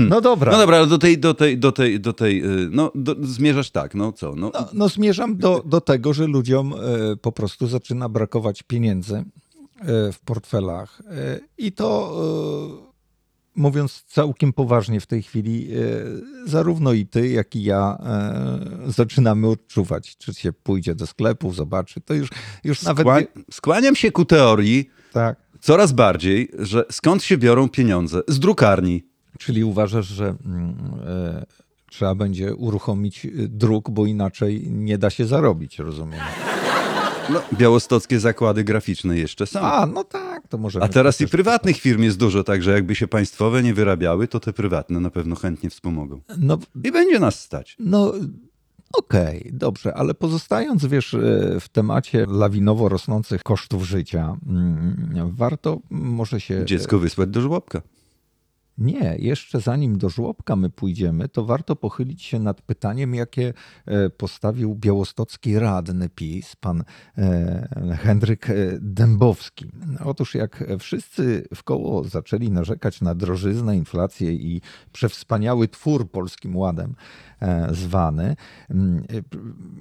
C: No dobra.
D: No dobra, ale do tej, do tej, do tej, do tej, y, no do, zmierzasz tak, no co, no,
C: No, no zmierzam do, do tego, że ludziom e, po prostu zaczyna brakować pieniędzy e, w portfelach. E, I to, e, mówiąc całkiem poważnie w tej chwili, e, zarówno i ty, jak i ja e, zaczynamy odczuwać, czy się pójdzie do sklepu, zobaczy. To już, już nawet...
D: skła-
C: nie-
D: skłaniam się ku teorii
C: tak.
D: coraz bardziej, że skąd się biorą pieniądze? Z drukarni.
C: Czyli uważasz, że mm, e, trzeba będzie uruchomić e, druk, bo inaczej nie da się zarobić, rozumiem.
D: No, białostockie zakłady graficzne jeszcze są.
C: A, tak. no tak, to może...
D: A teraz i prywatnych firm jest dużo, także jakby się państwowe nie wyrabiały, to te prywatne na pewno chętnie wspomogą.
C: No,
D: I będzie nas stać.
C: No, okej, dobrze, ale pozostając, wiesz, e, w temacie lawinowo rosnących kosztów życia, mm, warto może się.
D: Dziecko wysłać do żłobka.
C: Nie, jeszcze zanim do żłobka my pójdziemy, to warto pochylić się nad pytaniem, jakie e, postawił białostocki radny PiS, pan e, Henryk e, Dębowski. Otóż jak wszyscy w koło zaczęli narzekać na drożyznę, inflację i przewspaniały twór Polskim Ładem e, zwany mm, e, p-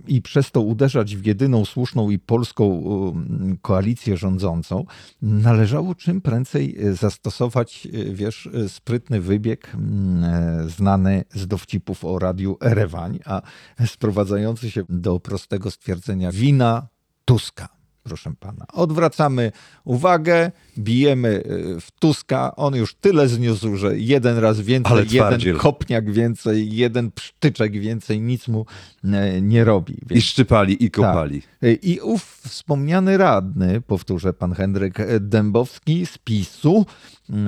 C: i przez to uderzać w jedyną słuszną i polską mm, koalicję rządzącą, należało czym prędzej e, zastosować, e, wiesz, e, sprytny wybieg mm, e, znany z dowcipów o radiu Erewań, a sprowadzający się do prostego stwierdzenia wina Tuska. Proszę pana, odwracamy uwagę, bijemy e, w Tuska. On już tyle zniósł, że jeden raz więcej,
D: Ale
C: jeden
D: twardziel.
C: kopniak więcej, jeden psztyczek więcej, nic mu e, nie robi.
D: I szczypali, i kopali.
C: Tak. I ów wspomniany radny, powtórzę pan Henryk Dębowski z PiSu,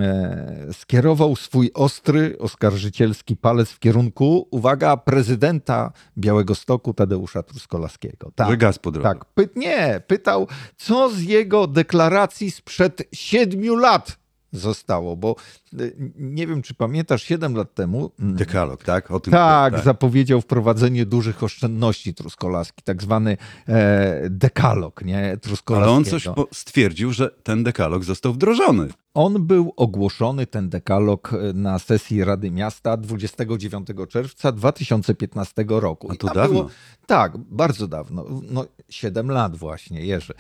C: e, skierował swój ostry, oskarżycielski palec w kierunku, uwaga, prezydenta Białego Stoku Tadeusza Truskolaskiego. Tak,
D: Że gaz po drodze.
C: tak. Py- nie, pytał, co z jego deklaracji sprzed siedmiu lat zostało, bo e, nie wiem, czy pamiętasz, siedem lat temu... mm,
D: Dekalog, tak? O tym
C: tak, zapowiedział wprowadzenie dużych oszczędności Truskolaski, tak zwany e, dekalog, nie?
D: Ale
C: Truskolaskiego.
D: on coś po- stwierdził, że ten dekalog został wdrożony.
C: On był ogłoszony, ten dekalog, e, na sesji Rady Miasta 29 czerwca 2015 roku.
D: A
C: I
D: to
C: tam
D: dawno.
C: tak, bardzo dawno. No, 7 lat właśnie, Jerzy.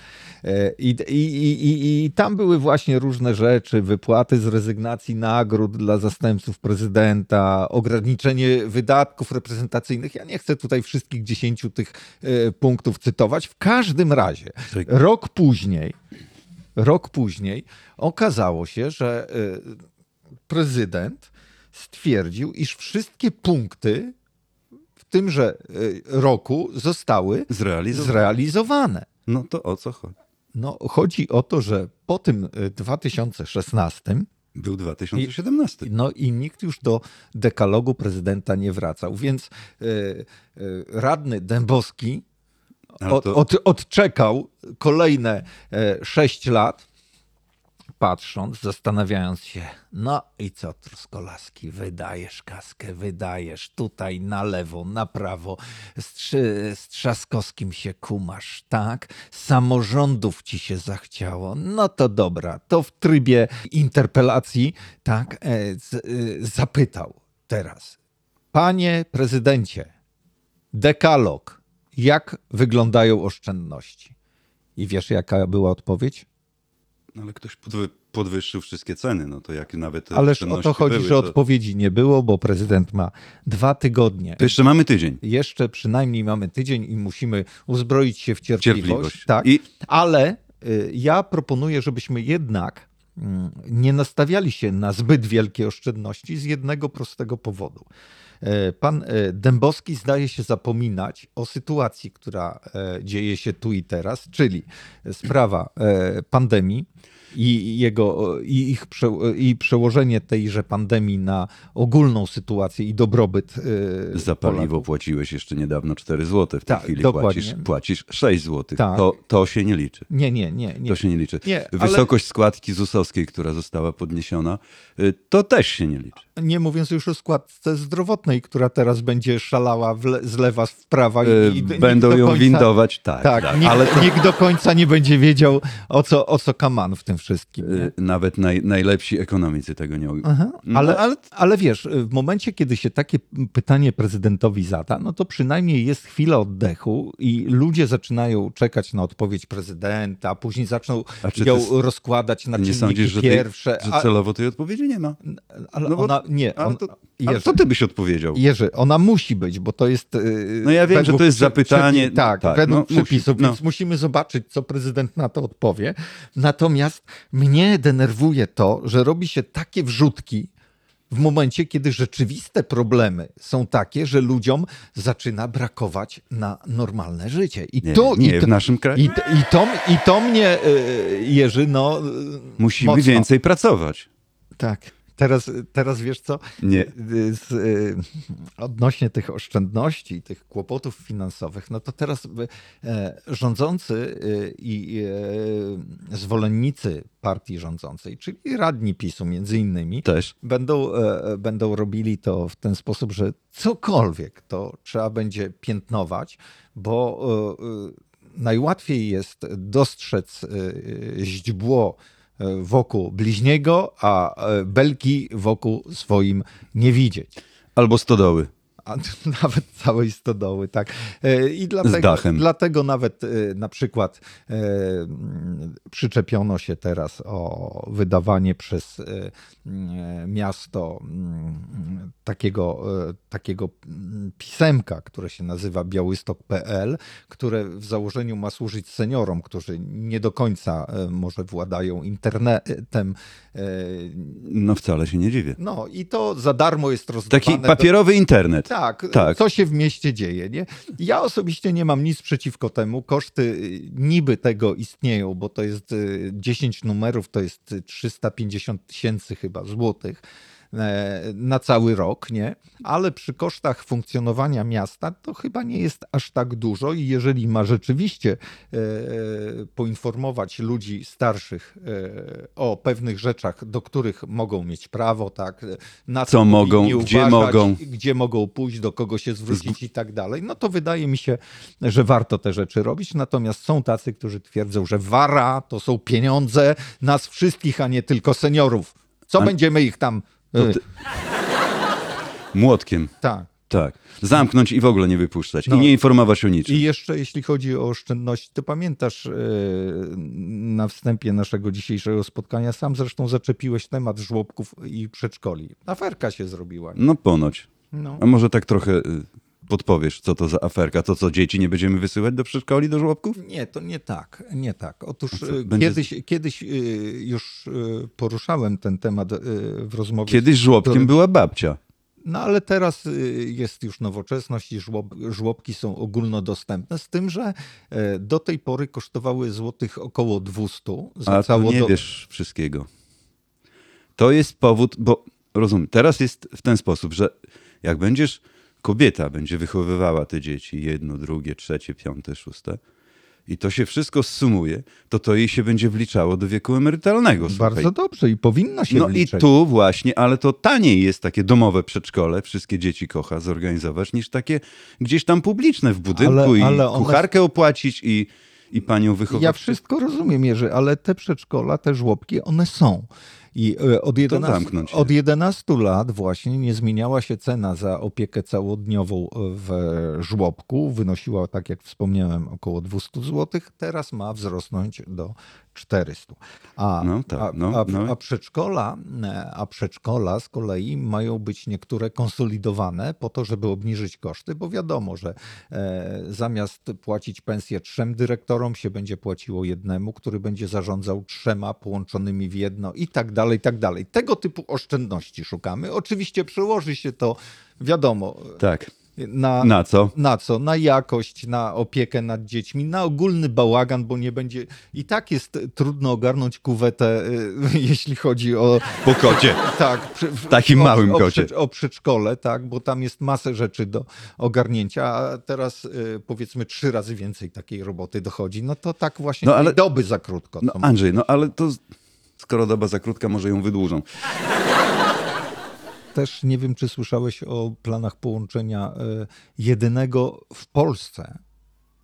C: E, I, i, i, i, I tam były właśnie różne rzeczy, wypłaty z rezygnacji nagród dla zastępców prezydenta, ograniczenie wydatków reprezentacyjnych. Ja nie chcę tutaj wszystkich 10 tych e, punktów cytować. W każdym razie,
D: Czyli-
C: rok później, rok później okazało się, że y, prezydent stwierdził, iż wszystkie punkty w tymże y, roku zostały
D: Zrealizowany.
C: zrealizowane.
D: No to o co chodzi?
C: No, chodzi o to, że po tym y, 2016
D: Był 2017.
C: no i nikt już do dekalogu prezydenta nie wracał, więc y, y, radny Dębowski
D: No, Ale
C: od,
D: to-
C: od, odczekał kolejne e, sześć lat, patrząc, zastanawiając się, no i co Truskolaski, wydajesz kaskę, wydajesz tutaj na lewo, na prawo, z, Trzy- z Trzaskowskim się kumasz, tak? Samorządów ci się zachciało, no to dobra, to w trybie interpelacji, tak, e, z, e, zapytał teraz, panie prezydencie, Dekalog. Jak wyglądają oszczędności? I wiesz, jaka była odpowiedź?
D: no, Ale ktoś podwy- podwyższył wszystkie ceny, no to jak nawet te
C: Ależ o
D: oszczędności
C: to chodzi,
D: były,
C: że odpowiedzi nie było, bo prezydent ma dwa tygodnie.
D: To jeszcze mamy tydzień.
C: Jeszcze przynajmniej mamy tydzień i musimy uzbroić się w cierpliwość.
D: Cierpliwość.
C: Tak.
D: I-
C: Ale y, ja proponuję, żebyśmy jednak mm, nie nastawiali się na zbyt wielkie oszczędności z jednego prostego powodu. E, Pan e, Dębowski zdaje się zapominać o sytuacji, która e, dzieje się tu i teraz, czyli sprawa e, pandemii i, jego, i, ich prze, e, i przełożenie tejże pandemii na ogólną sytuację i dobrobyt e,
D: Za
C: Polaków.
D: paliwo płaciłeś jeszcze niedawno 4 zł, w tej
C: Tak,
D: chwili
C: dokładnie.
D: płacisz, płacisz 6 zł.
C: Tak.
D: To, to się nie liczy.
C: Nie, nie, nie. nie.
D: To się nie liczy.
C: Nie, ale-
D: Wysokość składki ZUS-owskiej, która została podniesiona, y, to też się nie liczy.
C: Nie mówiąc już o składce zdrowotnej, która teraz będzie szalała w le- z lewa w prawa. I,
D: Y,
C: i nikt
D: Będą
C: do
D: ją
C: końca-
D: windować, tak.
C: Tak,
D: tak.
C: Nikt,
D: Ale to,
C: nikt do końca nie będzie wiedział, o co, o co kaman w tym wszystkim. nie?
D: y, mhm. nawet naj, najlepsi ekonomicy tego nie ogólnie.
C: Aha, ale, ale, ale wiesz, y, w momencie, kiedy się takie pytanie prezydentowi zada, no to przynajmniej jest chwila oddechu i ludzie zaczynają czekać na odpowiedź prezydenta, później zaczną
D: A czy ty
C: ją
D: s-
C: rozkładać na
D: Nie
C: czynniki
D: sądzisz, że, tej,
C: pierwsze.
D: że celowo tej odpowiedzi nie ma?
C: a, ale
D: no bo-
C: ona, nie,
D: Ale
C: on,
D: to, ale
C: Jerzy,
D: to ty byś odpowiedział.
C: Jerzy, ona musi być, bo to jest. yy,
D: No ja wiem,
C: według
D: że to jest
C: przy-
D: zapytanie,
C: przepi- tak,
D: tak,
C: według
D: no, musi,
C: przepisów,
D: no.
C: więc musimy zobaczyć, co prezydent na to odpowie. Natomiast mnie denerwuje to, że robi się takie wrzutki w momencie, kiedy rzeczywiste problemy są takie, że ludziom zaczyna brakować na normalne życie. I
D: Nie,
C: to,
D: nie
C: i to,
D: w naszym kraju.
C: i, to- i, to, I to mnie, yy, Jerzy, no. yy,
D: Musimy
C: mocno.
D: więcej pracować.
C: Tak. Teraz, teraz wiesz co?
D: Nie.
C: Z, y, odnośnie tych oszczędności i tych kłopotów finansowych, no to teraz y, e, rządzący y, i e, zwolennicy partii rządzącej, czyli radni PiSu między innymi,
D: Też.
C: będą, e, będą robili to w ten sposób, że cokolwiek to trzeba będzie piętnować, bo e, e, najłatwiej jest dostrzec e, e, źdźbło e, wokół bliźniego, a e, belki wokół swoim nie widzieć.
D: Albo stodoły.
C: A <laughs> tu nawet całej stodoły, tak. E, I dlatego,
D: dachem.
C: dlatego nawet e, na przykład e, mm, przyczepiono się teraz o wydawanie przez e, mm, miasto mm, takiego, e, takiego mm, pisemka, które się nazywa białystok.pl, które w założeniu ma służyć seniorom, którzy nie do końca e, może władają internetem. E,
D: No wcale się nie dziwię.
C: No i to za darmo jest rozdawane.
D: Taki
C: do-
D: papierowy internet.
C: tak,
D: Tak.
C: co się w mieście dzieje. Nie? Ja osobiście nie mam nic przeciwko temu. Koszty y, niby tego istnieją, bo to jest y, 10 numerów, to jest y, 350 tysięcy chyba złotych e, na cały rok, nie? Ale przy kosztach funkcjonowania miasta to chyba nie jest aż tak dużo i jeżeli ma rzeczywiście e, poinformować ludzi starszych e, o pewnych rzeczach, do których mogą mieć prawo, tak? Na
D: Co mogą,
C: powinni
D: gdzie mogą.
C: gdzie mogą pójść, do kogo się zwrócić i tak dalej. No to wydaje mi się, że warto te rzeczy robić. Natomiast są tacy, którzy twierdzą, że wara to są pieniądze nas wszystkich, a nie tylko seniorów. Co
D: A-
C: będziemy ich tam. y,
D: Młotkiem.
C: tak.
D: Tak. Zamknąć i w ogóle nie wypuszczać.
C: No.
D: I nie informować o niczym.
C: I jeszcze jeśli chodzi o oszczędności, to pamiętasz y, na wstępie naszego dzisiejszego spotkania, sam zresztą zaczepiłeś temat żłobków i przedszkoli. Aferka się zrobiła.
D: No ponoć.
C: No.
D: A może tak trochę y, podpowiesz, co to za aferka? To co, dzieci nie będziemy wysyłać do przedszkoli, do żłobków?
C: Nie, to nie tak, nie tak. Otóż e,
D: będzie-
C: kiedyś, kiedyś e, już e, poruszałem ten temat e, w rozmowie.
D: Kiedyś żłobkiem była babcia.
C: No ale teraz e, jest już nowoczesność i żłob, żłobki są ogólnodostępne, z tym, że e, do tej pory kosztowały złotych około 200 za
D: A tu
C: całą
D: nie
C: do-
D: wiesz wszystkiego. To jest powód, bo rozumiem, teraz jest w ten sposób, że jak będziesz, kobieta będzie wychowywała te dzieci, jedno, drugie, trzecie, piąte, szóste, i to się wszystko zsumuje, to to jej się będzie wliczało do wieku emerytalnego. słuchaj.
C: Bardzo dobrze i powinno się
D: No
C: wliczać.
D: i tu właśnie, ale to taniej jest takie domowe przedszkole, wszystkie dzieci kocha zorganizować, niż takie gdzieś tam publiczne w budynku
C: Ale-
D: i
C: ale one-
D: kucharkę opłacić i, i panią wychować.
C: Ja wszystko rozumiem, Jerzy, ale te przedszkola, te żłobki, one są. I e, od 11,
D: zamknąć je.
C: od 11 lat właśnie nie zmieniała się cena za opiekę całodniową e, w żłobku. Wynosiła, tak jak wspomniałem, około 200 zł. Teraz ma wzrosnąć do 400. A,
D: No tak,
C: a,
D: no,
C: a,
D: no.
C: a przedszkola, e, a przedszkola z kolei mają być niektóre konsolidowane po to, żeby obniżyć koszty, bo wiadomo, że e, zamiast płacić pensję trzem dyrektorom, się będzie płaciło jednemu, który będzie zarządzał trzema połączonymi w jedno i tak dalej, i tak dalej. Tego typu oszczędności szukamy. Oczywiście przełoży się to, wiadomo,
D: Tak.
C: na,
D: Na co?
C: na co? Na jakość, na opiekę nad dziećmi, na ogólny bałagan, bo nie będzie. I tak jest trudno ogarnąć kuwetę, y, <laughs> jeśli chodzi o.
D: Po kocie.
C: Tak, przy, w
D: takim małym
C: o,
D: kocie.
C: O, przedsz- o przedszkole, tak, bo tam jest masę rzeczy do ogarnięcia, a teraz y, powiedzmy trzy razy więcej takiej roboty dochodzi. No to tak właśnie
D: No,
C: no,
D: ale-
C: ale... doby za krótko.
D: No
C: to
D: Andrzej, no ale to z- skoro doba za krótka, może ją wydłużą.
C: Też nie wiem, czy słyszałeś o planach połączenia y, jedynego w Polsce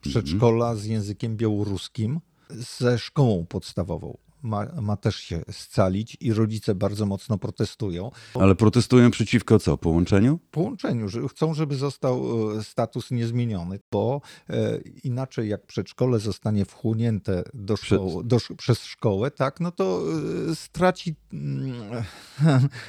C: przedszkola z językiem białoruskim ze szkołą podstawową. Ma, ma też się scalić i rodzice bardzo mocno protestują.
D: Ale protestują przeciwko co? Połączeniu?
C: Połączeniu, że chcą, żeby został y, status niezmieniony, bo e, inaczej jak przedszkole zostanie wchłonięte do szkoły, do, sz- przez szkołę, tak, no to y, straci mm,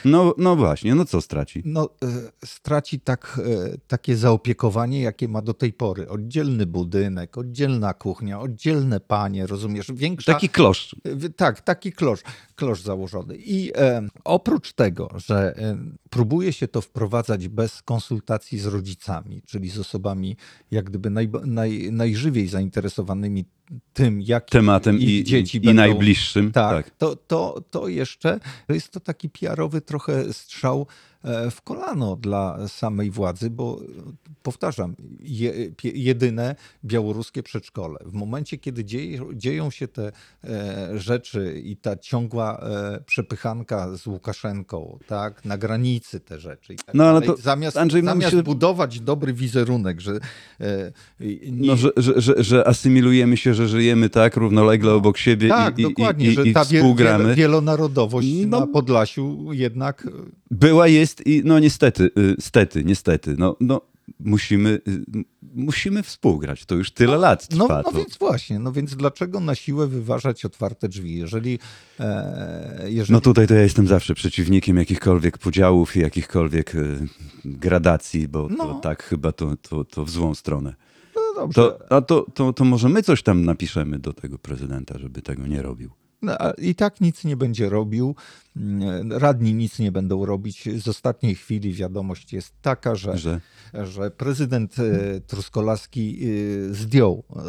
D: No, no właśnie, no co straci?
C: No, e, straci tak, e, takie zaopiekowanie, jakie ma do tej pory. Oddzielny budynek, oddzielna kuchnia, oddzielne panie, rozumiesz? Większa,
D: Taki klosz.
C: w- Tak, taki klosz, klosz założony. I e, oprócz tego, że e, próbuje się to wprowadzać bez konsultacji z rodzicami, czyli z osobami jak gdyby naj, naj, najżywiej zainteresowanymi tym, jakim
D: tematem
C: ich
D: i,
C: dzieci
D: i, i
C: będą...
D: najbliższym.
C: Tak, To, to, to jeszcze jest to taki PR-owy trochę strzał e, w kolano dla samej władzy, bo e, powtarzam, je, pie- jedyne białoruskie przedszkole. W momencie, kiedy dzieje, dzieją się te e, rzeczy i ta ciągła e, przepychanka z Łukaszenką, tak, na granicy te rzeczy. I tak
D: No, ale
C: dalej,
D: to,
C: zamiast,
D: Andrzej, mam
C: zamiast
D: się-
C: budować dobry wizerunek, że e, i- nie,
D: No, że, że, że, że asymilujemy się, że żyjemy tak równolegle obok siebie
C: Tak,
D: i, i,
C: dokładnie,
D: i,
C: że
D: i, i
C: ta wiel-
D: współgramy.
C: wiel- wielonarodowość
D: No.
C: na Podlasiu jednak no,
D: Była, jest i no niestety, y, stety, niestety, no, no musimy, y, m- musimy współgrać. To już tyle lat
C: No,
D: trwa.
C: no
D: to.
C: więc właśnie, no więc dlaczego na siłę wyważać otwarte drzwi, jeżeli... E, jeżeli
D: No tutaj to ja jestem zawsze przeciwnikiem jakichkolwiek podziałów i jakichkolwiek y, gradacji, bo to,
C: No.
D: tak chyba to, to, to w złą stronę.
C: no dobrze,
D: To, a to, to, to może my coś tam napiszemy do tego prezydenta, żeby tego nie robił.
C: no, a i tak nic nie będzie robił, mm, radni nic nie będą robić. Z ostatniej chwili wiadomość jest taka, że, że?
D: Że
C: prezydent e, Truskolaski e, zdjął e,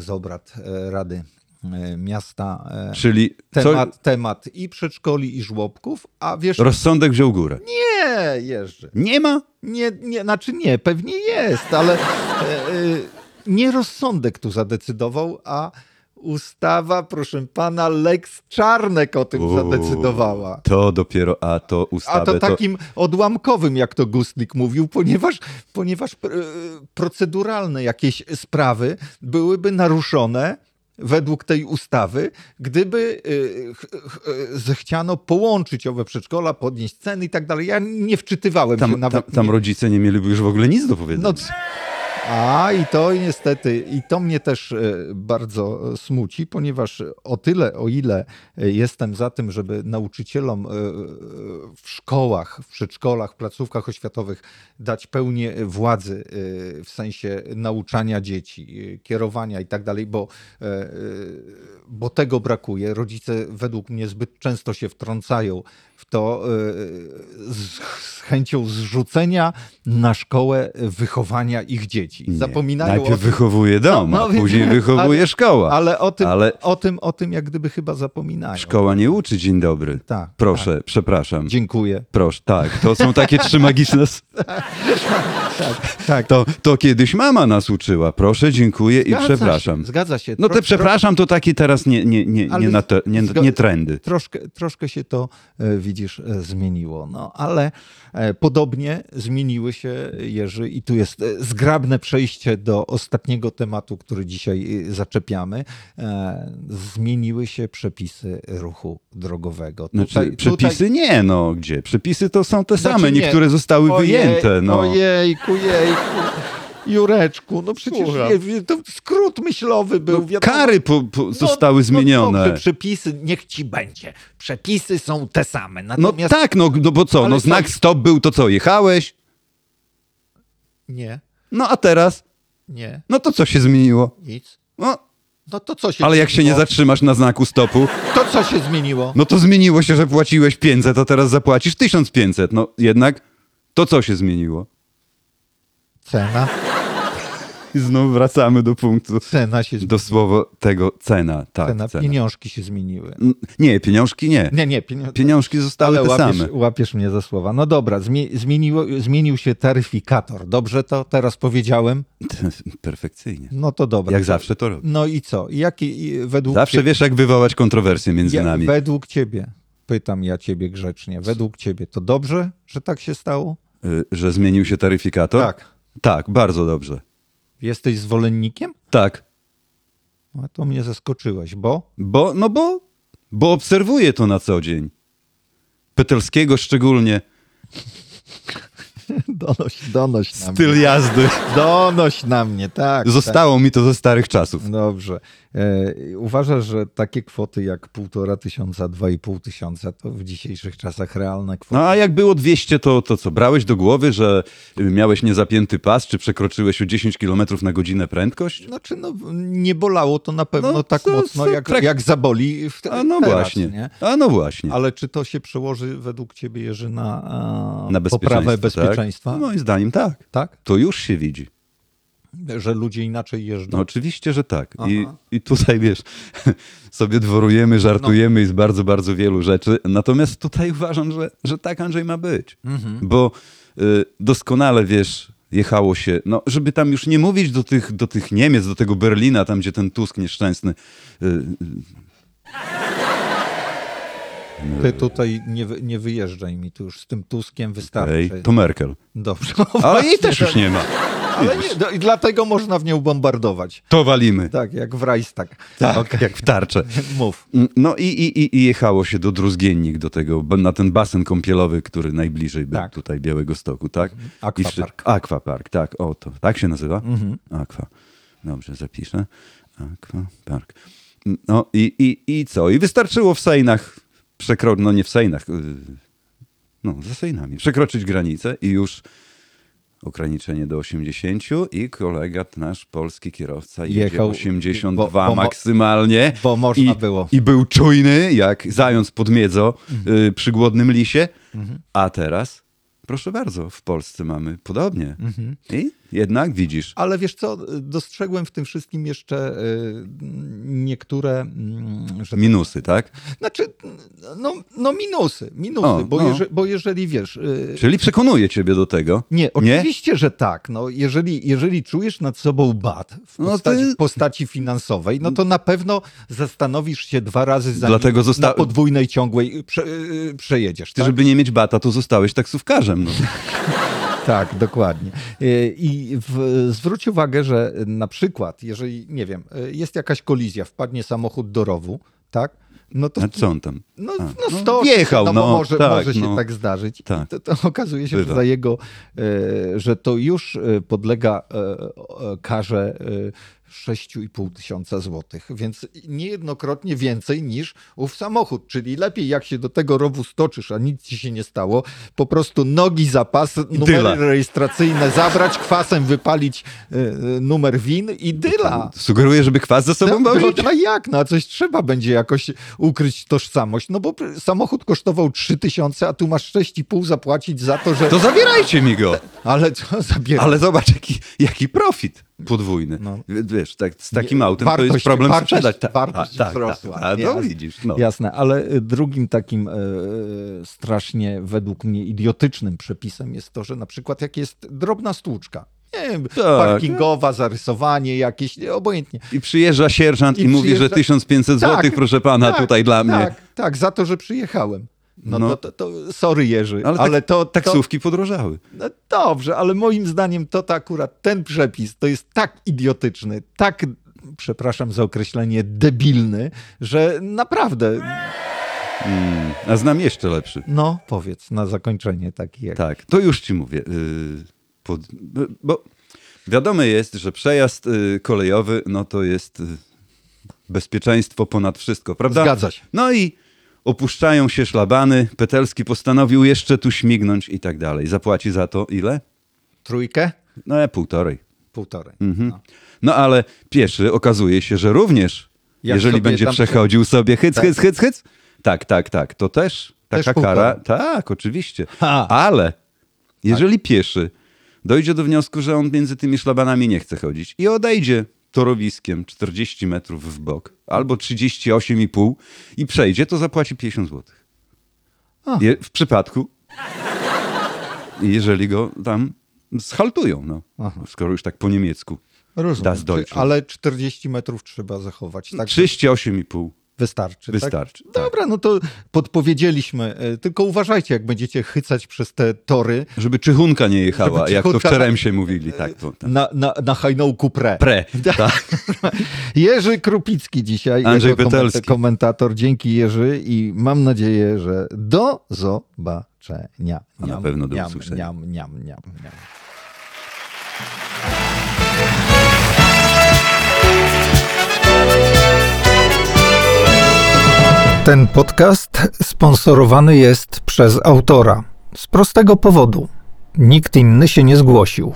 C: z obrad e, Rady e, Miasta e,
D: Czyli co,
C: temat, temat i przedszkoli, i żłobków, a wiesz...
D: rozsądek wziął górę.
C: Nie, Jerzy.
D: Nie ma?
C: Nie, nie, znaczy nie, pewnie jest, ale e, e, nie rozsądek tu zadecydował, a ustawa, proszę pana, Lex Czarnek o tym
D: Uuu,
C: zadecydowała.
D: To dopiero, a to ustawę.
C: A to takim odłamkowym, jak to Gustnik mówił, ponieważ, ponieważ e, proceduralne jakieś sprawy byłyby naruszone według tej ustawy, gdyby e, ch- ch- e, zechciano połączyć owe przedszkola, podnieść ceny i tak dalej. Ja nie wczytywałem się
D: tam, tam,
C: nawet.
D: tam
C: nie-
D: rodzice nie mieliby już w ogóle nic do powiedzenia.
C: no, c- a i to niestety, i to mnie też e, bardzo e, smuci, ponieważ o tyle, o ile e, jestem za tym, żeby nauczycielom e, w szkołach, w przedszkolach, placówkach oświatowych dać pełnię władzy e, w sensie nauczania dzieci, e, kierowania i tak dalej, bo, e, e, bo tego brakuje. Rodzice według mnie zbyt często się wtrącają w to e, z, z chęcią zrzucenia na szkołę wychowania ich dzieci.
D: Nie.
C: Zapominają
D: Najpierw
C: o tym,
D: wychowuje dom,
C: No, no
D: a
C: więc-
D: później wychowuje szkoła.
C: ale, o tym,
D: ale-
C: o tym, o tym jak gdyby chyba zapominają.
D: Szkoła nie uczy dzień dobry.
C: Tak,
D: Proszę, przepraszam.
C: Dziękuję.
D: Proszę, tak. To są takie trzy magiczne. s-
C: Tak.
D: To, to kiedyś mama nas uczyła. Proszę, dziękuję i
C: Zgadza
D: przepraszam.
C: Się, zgadza się.
D: No
C: Tro-
D: te przepraszam to takie teraz nie, nie, nie,
C: Ale
D: nie, na te, nie,
C: zgo-
D: nie trendy.
C: Troszkę, troszkę się to, e, widzisz, e, zmieniło. No, ale e, podobnie zmieniły się, Jerzy, i tu jest e, zgrabne przejście do ostatniego tematu, który dzisiaj e, zaczepiamy. E, Zmieniły się przepisy ruchu drogowego.
D: Znaczy,
C: Tutaj-
D: przepisy
C: tutaj-
D: nie, no gdzie? Przepisy to są te
C: Znaczy,
D: same,
C: nie.
D: niektóre zostały
C: Ojej,
D: wyjęte. No.
C: Ojejku, jejku. Jureczku, no przecież
D: Słucham.
C: nie, wie- to skrót myślowy był.
D: No,
C: wiadomo.
D: Kary po, po zostały
C: no
D: zmienione.
C: dobrze, przepisy, niech ci będzie. Przepisy są te same.
D: No
C: Natomiast
D: tak, no, no bo co,
C: Ale tak.
D: no
C: co-
D: znak stop był, to co, jechałeś?
C: Nie,
D: No a teraz?
C: nie,
D: No to co się zmieniło?
C: nic.
D: No,
C: No to co się
D: ale jak się nie
C: zmieniło?
D: zatrzymasz na znaku stopu,
C: To co się zmieniło?
D: no to zmieniło się, że płaciłeś 500, a teraz zapłacisz 1500. No jednak, to co się zmieniło?
C: Cena.
D: I znów wracamy do punktu,
C: Cena się zmieniła.
D: do słowa tego cena, tak,
C: Cena.
D: cena.
C: Pieniążki się zmieniły.
D: N- Nie, pieniążki nie.
C: Nie, nie, pieniądze.
D: Pieniążki zostały
C: Ale
D: te
C: łapiesz,
D: same.
C: łapiesz mnie za słowa. No dobra, zmie- zmieniło, zmienił się taryfikator. Dobrze to teraz powiedziałem?
D: Perfekcyjnie.
C: No to dobra.
D: Jak zawsze to robię.
C: No i co? Jaki i według
D: Zawsze
C: ciebie,
D: wiesz, jak wywołać kontrowersje między
C: ja,
D: nami.
C: według ciebie, pytam ja ciebie grzecznie, według ciebie to dobrze, że tak się stało?
D: Y, Że zmienił się taryfikator?
C: Tak.
D: Tak, bardzo dobrze.
C: Jesteś zwolennikiem?
D: Tak.
C: No to mnie zaskoczyłeś, bo
D: Bo, no bo, bo obserwuję to na co dzień. Petelskiego szczególnie.
C: <laughs> donoś, donoś na
D: Styl
C: mnie.
D: jazdy.
C: Donoś na mnie, tak.
D: Zostało mi to ze starych czasów.
C: tak. Dobrze. E, uważasz, że takie kwoty jak półtora tysiąca, dwa i pół tysiąca to w dzisiejszych czasach realne kwoty?
D: No a jak było 200, to, to co? Brałeś do głowy, że y, miałeś niezapięty pas, czy przekroczyłeś o 10 km na godzinę prędkość?
C: Znaczy, no, nie bolało to na pewno
D: No,
C: tak
D: to-
C: mocno,
D: to
C: jak,
D: trak-
C: jak zaboli w te,
D: A no
C: teraz,
D: właśnie.
C: Nie?
D: A no właśnie.
C: Ale czy to się przełoży według ciebie, Jerzy, na, a,
D: Na bezpieczeństwo, No.
C: poprawę bezpieczeństwa?
D: Tak? Moim zdaniem tak.
C: Tak?
D: To już się widzi.
C: że ludzie inaczej jeżdżą.
D: No oczywiście, że tak. I, I tutaj wiesz, <laughs> sobie dworujemy, żartujemy i z bardzo, bardzo wielu rzeczy. Natomiast tutaj uważam, że, że tak Andrzej ma być. Bo y, doskonale wiesz, jechało się, no żeby tam już nie mówić do tych, do tych Niemiec, do tego Berlina, tam gdzie ten Tusk nieszczęsny. y, y,
C: Ty tutaj nie, wy- nie wyjeżdżaj mi, tu już z tym Tuskiem
D: Ej,
C: wystarczy.
D: to Merkel.
C: Dobrze.
D: <laughs> Ale jej też już nie ma.
C: Ale nie, no i dlatego można w nią bombardować.
D: To walimy.
C: Tak, jak w Reichstag.
D: Tak,
C: Okej.
D: jak w tarczę.
C: <laughs> Mów.
D: No i, i, i- i jechało się do Druzgiennik, do tego, b- na ten basen kąpielowy, który najbliżej był
C: Tak. Mhm.
D: tutaj Białego Stoku, tak?
C: Aquapark. Mhm.
D: I wszy- Aquapark, tak, o to. Tak się nazywa? Aqua. Dobrze, zapiszę. Aquapark. No i, i, i co? I wystarczyło w Sejnach, przekro... no nie w Sejnach, yy, no za Sejnami, przekroczyć granicę i już ograniczenie do 80 i kolega nasz polski kierowca
C: Jechał,
D: jechał 82
C: bo- bo-
D: maksymalnie
C: bo można
D: i,
C: było.
D: I był czujny, jak zając pod miedzo y, przy głodnym lisie. A teraz, proszę bardzo, w Polsce mamy podobnie. I jednak widzisz.
C: Ale wiesz co, dostrzegłem w tym wszystkim jeszcze y, niektóre, mm, że
D: Minusy, tak?
C: Znaczy, no, no minusy, minusy,
D: O,
C: bo,
D: no.
C: jeże, bo jeżeli wiesz. y,
D: Czyli przekonuje ciebie do tego.
C: Nie, oczywiście, że tak. No, jeżeli, jeżeli czujesz nad sobą bat w
D: No
C: postaci,
D: ty-
C: postaci finansowej, no to na pewno zastanowisz się dwa razy, zanim
D: Dlatego zosta-
C: na podwójnej ciągłej prze, y, przejedziesz.
D: Ty,
C: Tak?
D: żeby nie mieć bata, to zostałeś taksówkarzem. No. <laughs>
C: Tak, dokładnie. Y, I w, zwróć uwagę, że na przykład, jeżeli, nie wiem, y, jest jakaś kolizja, wpadnie samochód do rowu, tak? No to
D: A co on tam?
C: No,
D: A,
C: no 100,
D: wjechał,
C: no,
D: no,
C: bo może,
D: tak,
C: może się
D: no.
C: tak zdarzyć. I
D: Tak.
C: To, to okazuje się, że,
D: Bywa.
C: za jego, e, że to już e, podlega e, e, karze e, 6,5 tysiąca złotych, więc niejednokrotnie więcej niż ów samochód, czyli lepiej jak się do tego rowu stoczysz, a nic ci się nie stało, po prostu nogi za pas, numery
D: dyla.
C: rejestracyjne zabrać, kwasem wypalić e, e, numer win i dyla.
D: Sugeruje, żeby kwas ze sobą
C: No,
D: bawić?
C: no jak? No a coś trzeba będzie jakoś ukryć tożsamość. No bo pr- samochód kosztował 3000, a tu masz 6,5 zapłacić za to, że...
D: To zabierajcie mi go!
C: Ale co zabiera?
D: Ale zobacz, jaki, jaki profit podwójny.
C: No.
D: W- Wiesz, tak, z takim autem
C: wartość-
D: to jest problem
C: wartość-
D: sprzedać. Ta- tak,
C: wartość
D: ta- ta-
C: wzrosła.
D: ta- No
C: Jasne.
D: widzisz, no.
C: Jasne, ale y, drugim takim y, strasznie według mnie idiotycznym przepisem jest to, że na przykład jak jest drobna stłuczka, nie wiem,
D: Tak.
C: parkingowa, zarysowanie jakieś, nie, obojętnie.
D: I przyjeżdża sierżant i,
C: I
D: mówi, że
C: przyjeżdża-
D: 1500
C: Tak,
D: zł, proszę pana,
C: tak,
D: tutaj dla mnie.
C: Tak, tak, za to, że przyjechałem. No,
D: No.
C: To, to, to sorry Jerzy, ale,
D: Ale, tak,
C: to... to,
D: taksówki podrożały.
C: No dobrze, ale moim zdaniem to, to akurat ten przepis to jest tak idiotyczny, tak, przepraszam za określenie, debilny, że naprawdę,
D: A znam jeszcze lepszy.
C: no powiedz na zakończenie taki jak...
D: Tak, to już ci mówię. Yy, pod, b- bo wiadomo jest, że przejazd yy, kolejowy, no to jest yy, bezpieczeństwo ponad wszystko, prawda?
C: Zgadza się.
D: No i opuszczają się szlabany, Petelski postanowił jeszcze tu śmignąć i tak dalej. Zapłaci za to ile?
C: Trójkę?
D: No e, półtorej.
C: Półtorej. No.
D: No ale pieszy okazuje się, że również,
C: Jak
D: jeżeli
C: sobie
D: będzie
C: tam
D: przechodził sobie hyc,
C: Tak.
D: hyc, hyc, hyc, tak, tak, tak, to też
C: Też
D: taka
C: półtora.
D: kara. Tak, oczywiście.
C: Ha. Tak.
D: Ale jeżeli pieszy dojdzie do wniosku, że on między tymi szlabanami nie chce chodzić i odejdzie torowiskiem 40 metrów w bok albo 38,5 i przejdzie, to zapłaci 50 zł.
C: A.
D: Je, w przypadku, jeżeli go tam schaltują, no, skoro już tak po niemiecku.
C: Rozumiem.
D: Das
C: Czy,
D: Deutsche.
C: ale 40 metrów trzeba zachować, tak?
D: 38,5.
C: Wystarczy.
D: Wystarczy,
C: Tak?
D: tak.
C: Dobra, no to podpowiedzieliśmy. e, Tylko uważajcie, jak będziecie chycać przez te tory.
D: Żeby czychunka nie jechała,
C: Żeby
D: jak to w
C: czychunka-
D: Czeremsie mówili. Tak, to, tak.
C: Na, na, na hajną kuprę.
D: Pre. Tak.
C: <laughs> Jerzy Krupicki dzisiaj,
D: Andrzej
C: jako koment-
D: Pytelski.
C: komentator. Dzięki Jerzy i mam nadzieję, że do zobaczenia.
D: A na
C: Niam,
D: pewno do
C: niam,
D: usłyszenia.
C: Niam, niam, niam, niam.
A: Ten podcast sponsorowany jest przez autora. Z prostego powodu. Nikt inny się nie zgłosił.